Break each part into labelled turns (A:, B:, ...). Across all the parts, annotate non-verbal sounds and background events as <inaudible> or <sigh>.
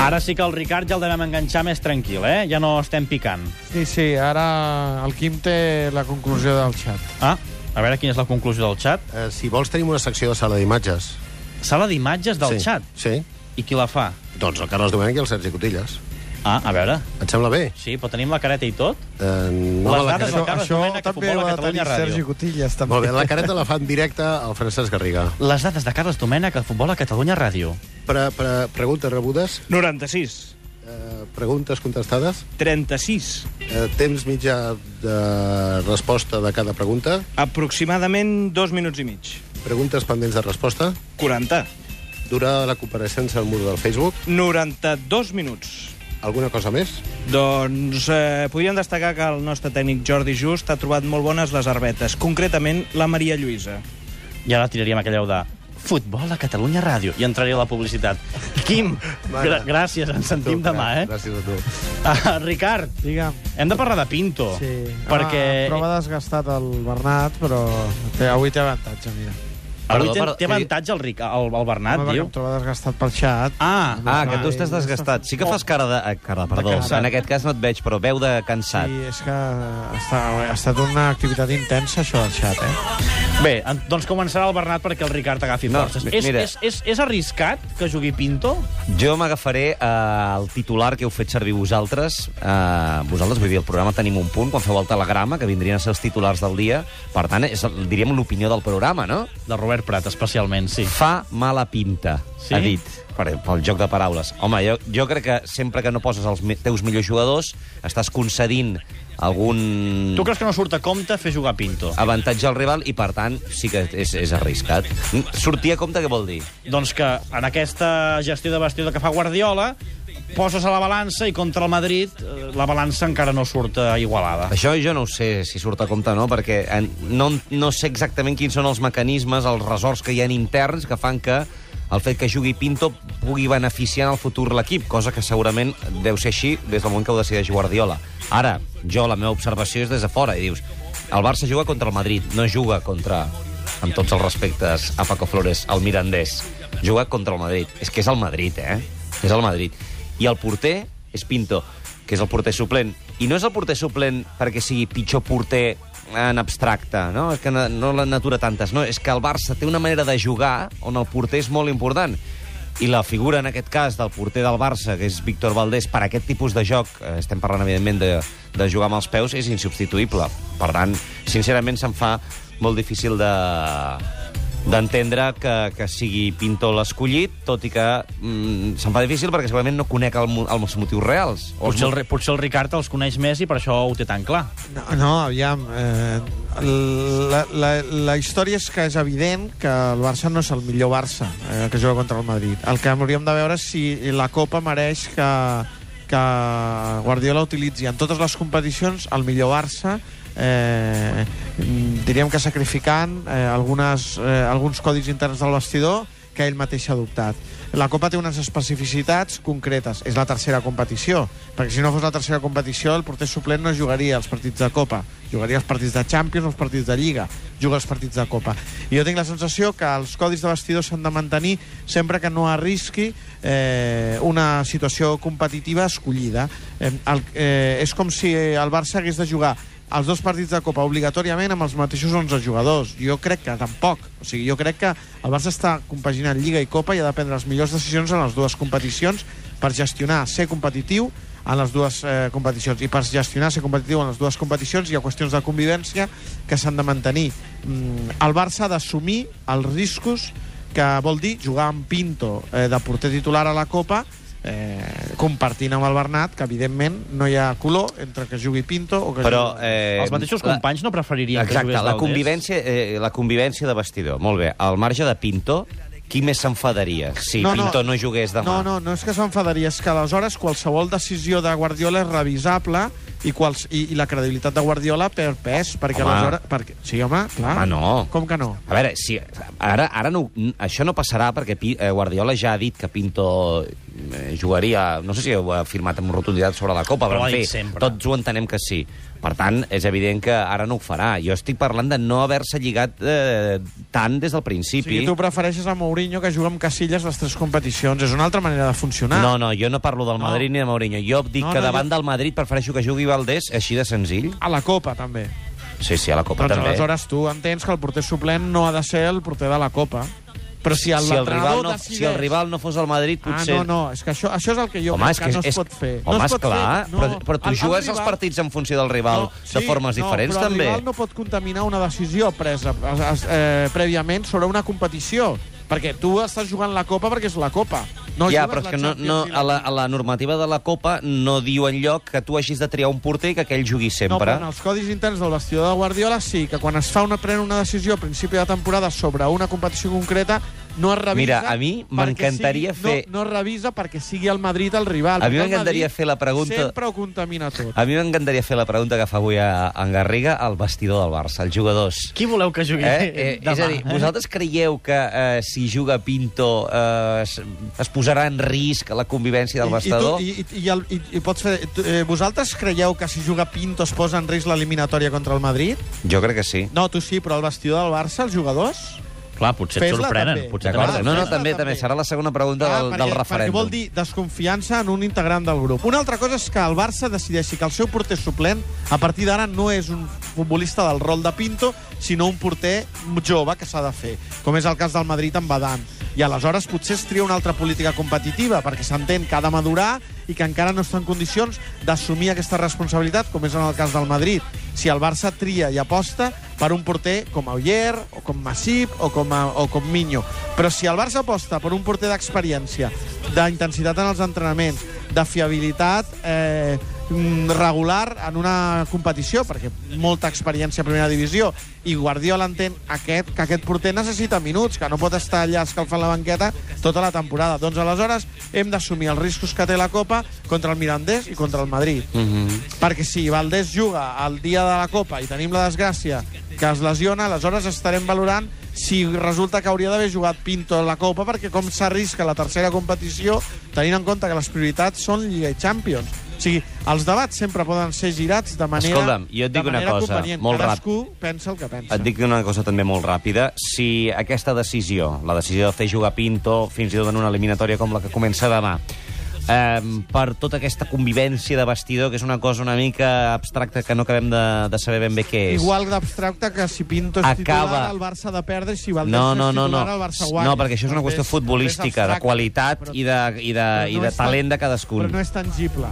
A: Ara sí que el Ricard ja el devem enganxar més tranquil, eh? Ja no estem picant.
B: Sí, sí, ara el Quim té la conclusió del xat.
A: Ah, a veure quina és la conclusió del xat.
C: Eh, si vols, tenim una secció de sala d'imatges.
A: Sala d'imatges del
C: sí.
A: xat.
C: Sí.
A: I qui la fa?
C: Doncs el Carles Domènech i el Sergi Cotillas.
A: Ah, a veure.
C: Et sembla bé?
A: Sí, però tenim la careta i tot.
C: Eh,
A: Les
C: no me la
A: dades
C: careta...
A: del Carles Domènech, que futbol a
B: ho ha de
A: Catalunya
B: tenir
A: Ràdio.
B: Sergi Cotillas, també.
C: Molt bé, la careta la fa en directe al Francesc Garriga.
A: Les dades de Carles Domènech al Futbol a Catalunya Ràdio.
C: Pre -pre Preguntes rebudes,
D: 96.
C: eh, preguntes contestades,
D: 36.
C: eh, temps mitjà de resposta de cada pregunta,
D: Aproximadament dos minuts i mig.
C: preguntes pendents de resposta,
D: 40.
C: durada de la compareixença al mur del Facebook,
D: 92 minuts.
C: alguna cosa més?
D: Doncs eh, podríem destacar que el nostre tècnic Jordi Just ha trobat molt bones les arbetes, concretament la Maria Lluïsa.
A: I ara tiraríem aquella de Futbol a Catalunya Ràdio. I entraria la publicitat. Quim,
C: Mare.
A: gr gràcies, ens sentim demà, eh?
C: Gràcies a tu.
A: Ah, Ricard,
B: Digue'm.
A: hem de parlar de Pinto.
B: Sí.
A: Oh. Perquè...
B: Ah, però m'ha desgastat el Bernat, però té, avui té avantatge, mira.
A: Avui
E: Perdó,
A: té,
E: perdó,
A: té
E: que-
A: avantatge el, Ric, el, el Bernat,
B: Home, perquè
A: diu.
B: em troba desgastat pel xat.
A: Ah,
E: Ah, que tu
B: Ai,
E: estàs desgastat. Sí que fas cara de... eh, Cara, perdó.
B: cansat.
E: En aquest cas no et veig, però veu de cansat.
B: Sí, és que està, ha estat una activitat intensa, això del xat, eh?
A: Bé, en- doncs començarà el Bernat perquè el Ricard agafi
E: No,
A: forces.
E: mi-
A: és,
E: mira.
A: és, és, és arriscat que jugui Pinto?
E: Jo m'agafaré eh, el titular que heu fet servir vosaltres. Eh, vosaltres, vull dir, el programa tenim un punt, quan feu el telegrama, que vindrien a ser els titulars del dia. Per tant, és, el- diríem l'opinió del programa, no?
A: De Robert Prat, especialment, sí.
E: Fa mala pinta,
A: Sí?
E: sí? ha dit, per, pel joc de paraules. Home, jo, jo crec que sempre que no poses els me teus millors jugadors, estàs concedint algun
A: Tu creus que no surt a compte fer jugar Pinto?
E: avantatge al rival i, per tant, sí que és, és arriscat. Mm, Sortir a compte, què vol dir?
A: Doncs que en aquesta gestió de vestidor que fa Guardiola poses a la balança i contra el Madrid eh, la balança encara no surt eh, igualada.
E: Això jo no ho sé si surt a compte o no, perquè en- no, no sé exactament quins són els mecanismes, els resorts que hi ha interns que fan que el fet que jugui Pinto pugui beneficiar en el futur l'equip, cosa que segurament deu ser així des del moment que ho decideix Guardiola. Ara, jo, la meva observació és des de fora, i dius, el Barça juga contra el Madrid, no juga contra, amb tots els respectes, a Paco Flores, el mirandès. Juga contra el Madrid. És que és el Madrid, eh? És el Madrid. I el porter és Pinto, que és el porter suplent. I no és el porter suplent perquè sigui pitjor porter en abstracte, no? És que na- no la natura tantes, no? És que el Barça té una manera de jugar on el porter és molt important. I la figura, en aquest cas, del porter del Barça, que és Víctor Valdés, per aquest tipus de joc, eh, estem parlant, evidentment, de, de jugar amb els peus, és insubstituïble. Per tant, sincerament, se'm fa molt difícil de, d'entendre que, que sigui Pinto l'escollit, tot i que mm, se'm fa difícil perquè segurament no conec el, mo- els motius reals. O els
A: Potser el, Ri- potser el Ricard els coneix més i per això ho té tan clar.
B: No, no aviam, eh, la, la, la història és que és evident que el Barça no és el millor Barça eh, que juga contra el Madrid. El que hauríem de veure és si la Copa mereix que, que Guardiola utilitzi en totes les competicions el millor Barça eh, mm, diríem que sacrificant eh, algunes, eh, alguns codis interns del vestidor que ell mateix ha adoptat. La Copa té unes especificitats concretes. És la tercera competició, perquè si no fos la tercera competició el porter suplent no jugaria els partits de Copa. Jugaria els partits de Champions o els partits de Lliga. Juga els partits de Copa. I jo tinc la sensació que els codis de vestidor s'han de mantenir sempre que no arrisqui eh, una situació competitiva escollida. Eh, el, eh, és com si el Barça hagués de jugar els dos partits de Copa obligatòriament amb els mateixos 11 jugadors. Jo crec que tampoc. O sigui, jo crec que el Barça està compaginant Lliga i Copa i ha de prendre les millors decisions en les dues competicions per gestionar, ser competitiu en les dues eh, competicions. I per gestionar, ser competitiu en les dues competicions hi ha qüestions de convivència que s'han de mantenir. Mm, el Barça ha d'assumir els riscos que vol dir jugar amb Pinto eh, de porter titular a la Copa eh, compartint amb el Bernat que evidentment no hi ha color entre que jugui Pinto o que
E: Però,
B: jugui...
E: eh,
A: els mateixos
E: la-
A: companys no preferirien que
E: Exacte,
A: jugués
E: la
A: Valdés?
E: convivència, eh, la convivència de vestidor. Molt bé, al marge de Pinto, qui més s'enfadaria si no, Pinto no, jugués demà?
B: No, no, no és que s'enfadaria, és que aleshores qualsevol decisió de Guardiola és revisable i, quals, i, i la credibilitat de Guardiola per pes, perquè
E: Home.
B: aleshores... Perquè, sí, home, clar.
E: Home, no.
B: Com que no?
E: A veure, si, ara, ara no, això no passarà perquè Pi- eh, Guardiola ja ha dit que Pinto eh, jugaria... No sé si ho ha afirmat amb rotunditat sobre la Copa,
A: Ho
E: però
A: ha
E: en
A: dit
E: fi,
A: sempre.
E: tots ho entenem que sí. Per tant, és evident que ara no ho farà. Jo estic parlant de no haver-se lligat eh, tant des del
B: O sigui,
E: principi.
B: tu prefereixes a Mourinho que juga amb Casillas les tres competicions. És una altra manera de funcionar.
E: No, no, jo no parlo del Madrid ni de Mourinho. Jo dic
B: No,
E: que
B: no,
E: davant
B: jo-
E: del Madrid prefereixo que jugui Valdés així de senzill.
B: A la Copa, també.
E: Sí, sí, a la Copa
B: doncs
E: també.
B: aleshores tu entens que el porter suplent no ha de ser el porter de la Copa. Però si el,
E: si, el rival
B: l'entrenador
E: no,
B: decideix...
E: si el rival no fos el Madrid,
B: Ah,
E: potser...
B: no, no, és que això, això és el que jo
E: Home, és
B: crec que,
E: que,
B: no es
E: és,
B: pot fer. no
E: Home,
B: es pot
E: esclar,
B: fer.
E: però, però tu
B: el- el
E: jugues els
B: rival-
E: partits en funció del rival de formes diferents,
B: però
E: també.
B: el rival no pot contaminar una decisió presa es- es- eh, prèviament sobre una competició, perquè tu estàs jugant la Copa perquè és la Copa. No
E: ja,
B: jugues
E: però és
B: la
E: que no,
B: Champions
E: no,
B: ni
E: a, la, a la normativa de la Copa no diu en lloc que tu hagis de triar un porter i que aquell jugui
B: No,
E: sempre.
B: però en els codis interns del vestidor de Guardiola sí, que quan es fa una, pren una decisió a principi de temporada sobre una competició concreta, no es revisa...
E: Mira, a mi
B: perquè
E: m'encantaria
B: sigui-
E: fer-
B: No, no es revisa perquè sigui el Madrid el rival.
E: A mi
B: perquè el
E: m'encantaria
B: Madrid
E: fer la pregunta-
B: Sempre ho contamina tot.
E: A mi m'encantaria fer la pregunta que fa avui a, a en Garriga al vestidor del Barça, els jugadors.
A: Qui voleu
B: <laughs>
A: que jugui
E: Eh? Eh,
A: demà?
E: és a dir, vosaltres creieu que eh, si juga Pinto eh, es, es posarà en risc la convivència del vestador?
B: I, i, tu, i, i, el, i, i pots fer... Tu, eh, vosaltres creieu que si juga Pinto es posa en risc l'eliminatòria contra el Madrid?
E: Jo crec que sí.
B: No, tu sí, però el vestidor del Barça, els jugadors...
A: Clar, potser et
B: Fes-la,
A: sorprenen.
B: també.
A: Potser
E: D'acord?
A: també.
B: Clar,
E: No, no,
B: fes-la
E: també, també.
B: també.
E: Serà la segona pregunta
B: Clar,
E: del, del referèndum.
B: Ah, Perquè vol dir desconfiança en un integrant del grup. Una altra cosa és que el Barça decideixi que el seu porter suplent, a partir d'ara, no és un futbolista del rol de Pinto, sinó un porter jove que s'ha de fer, com és el cas del Madrid amb Badan. I aleshores potser es tria una altra política competitiva, perquè s'entén que ha de madurar i que encara no està en condicions d'assumir aquesta responsabilitat, com és en el cas del Madrid. Si el Barça tria i aposta per un porter com Auller, o com Massip, o com, a, o com Minyo. Però si el Barça aposta per un porter d'experiència, d'intensitat en els entrenaments, de fiabilitat eh, mm, regular en una competició, perquè molta experiència a primera divisió, i Guardiola entén aquest, que aquest porter necessita minuts, que no pot estar allà escalfant la banqueta tota la temporada. Doncs aleshores hem d'assumir els riscos que té la Copa contra el Mirandés i contra el Madrid.
E: Mhm.
B: Perquè si Valdés juga el dia de la Copa i tenim la desgràcia que es lesiona, aleshores estarem valorant si resulta que hauria d'haver jugat Pinto a la Copa, perquè com s'arrisca la tercera competició, tenint en compte que les prioritats són Lliga i Champions. O sigui, els debats sempre poden ser girats de manera,
E: Escolta'm, jo et dic
B: de
E: una
B: manera
E: cosa,
B: convenient.
E: molt ràpid.
B: Cadascú pensa el que pensa.
E: Et dic una cosa també molt ràpida. Si aquesta decisió, la decisió de fer jugar Pinto, fins i tot en una eliminatòria com la que comença demà, eh, per tota aquesta convivència de vestidor, que és una cosa una mica abstracta que no acabem de, de saber ben bé què és.
B: Igual d'abstracte que si Pinto és
E: Acaba.
B: titular, el Barça ha de perdre, i si Valdés
E: No, no,
B: és
E: no, no.
B: titular, el Barça guanya.
E: No, perquè això és una
B: També
E: qüestió
B: també és
E: futbolística, de
B: abstracte,
E: qualitat
B: però-
E: i de, i de,
B: però
E: i
B: no
E: de
B: és tan-
E: talent de cadascun.
B: Però no és tangible.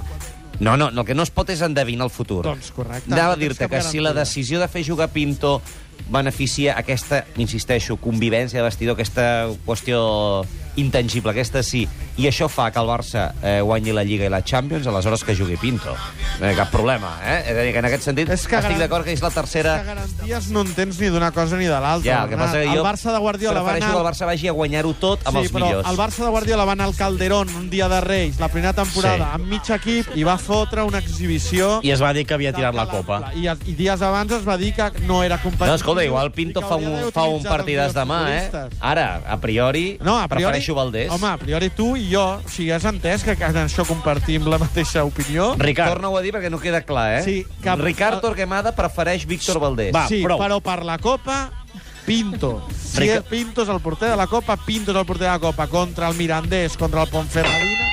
E: No, no, el que no es pot és endevinar el futur.
B: Doncs correcte.
E: Anava a
B: No tens
E: dir-te
B: cap
E: que si la
B: garantia.
E: decisió de fer jugar Pinto beneficia aquesta, insisteixo, convivència de vestidor, aquesta qüestió intangible, aquesta sí, i això fa que el Barça eh, guanyi la Lliga i la Champions, aleshores que jugui Pinto. No hi ha cap problema, eh? És a dir, que en aquest sentit
B: És que
E: estic
B: garan-
E: d'acord que és la tercera...
B: Que garanties no en tens ni d'una cosa ni de l'altra.
E: Ja, el que
B: Bernat.
E: passa que jo
B: El Barça de Guardiola va
E: prefereixo
B: anar...
E: que el Barça vagi a guanyar-ho tot amb
B: sí,
E: els
B: però
E: millors.
B: el Barça de Guardiola va anar al Calderón un dia de Reis, la primera temporada,
E: Sí.
B: amb mig equip, i va fotre una exhibició...
A: I es va dir que havia tirat la copa.
B: I, I dies abans es va dir que no era competitiu.
E: No, escolta, igual
B: i
E: Pinto
B: que
E: fa
B: hauria
E: un,
B: d'haver
E: fa un
B: utilitzat els
E: partidàs
B: millors
E: demà, eh?
B: futbolistes.
E: Ara, a priori,
B: No, a priori,
E: prefereixo Valdés.
B: Home, a priori tu i jo, o sigui, has entès que en això compartim la mateixa opinió?
A: Ricard.
E: Torna-ho a dir perquè no queda clar, eh?
B: Sí, que-
E: Ricard Torquemada prefereix Víctor Valdés.
A: Va.
B: sí,
A: prou.
B: però per la Copa, Pinto. Si
A: Rica-
B: és Pinto és el porter de la Copa, Pinto és el porter de la Copa contra el Mirandés, contra el Ponferradina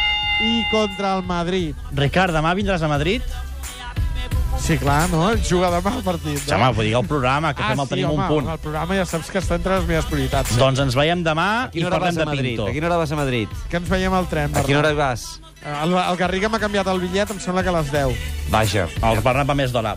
B: i contra el Madrid.
A: Ricard, demà vindràs a Madrid?
B: Sí, clar, no? Juga demà el partit.
A: Sí, home, vull dir el programa, que
B: ah,
A: fem el
B: sí,
A: tenim
B: home,
A: un punt.
B: El programa ja saps que està entre les meves prioritats. eh?
A: Doncs ens veiem demà
E: A
A: i
E: quina hora vas
A: parlem
E: a
A: de
E: Madrid?
A: Pinto.
E: A quina hora vas a Madrid?
B: Que ens veiem al tren,
E: A quina
B: Bernat.
E: hora hi vas?
B: El, el Garriga m'ha canviat el bitllet, em sembla que a les 10.
E: Vaja.
A: El Bernat va més d'hora.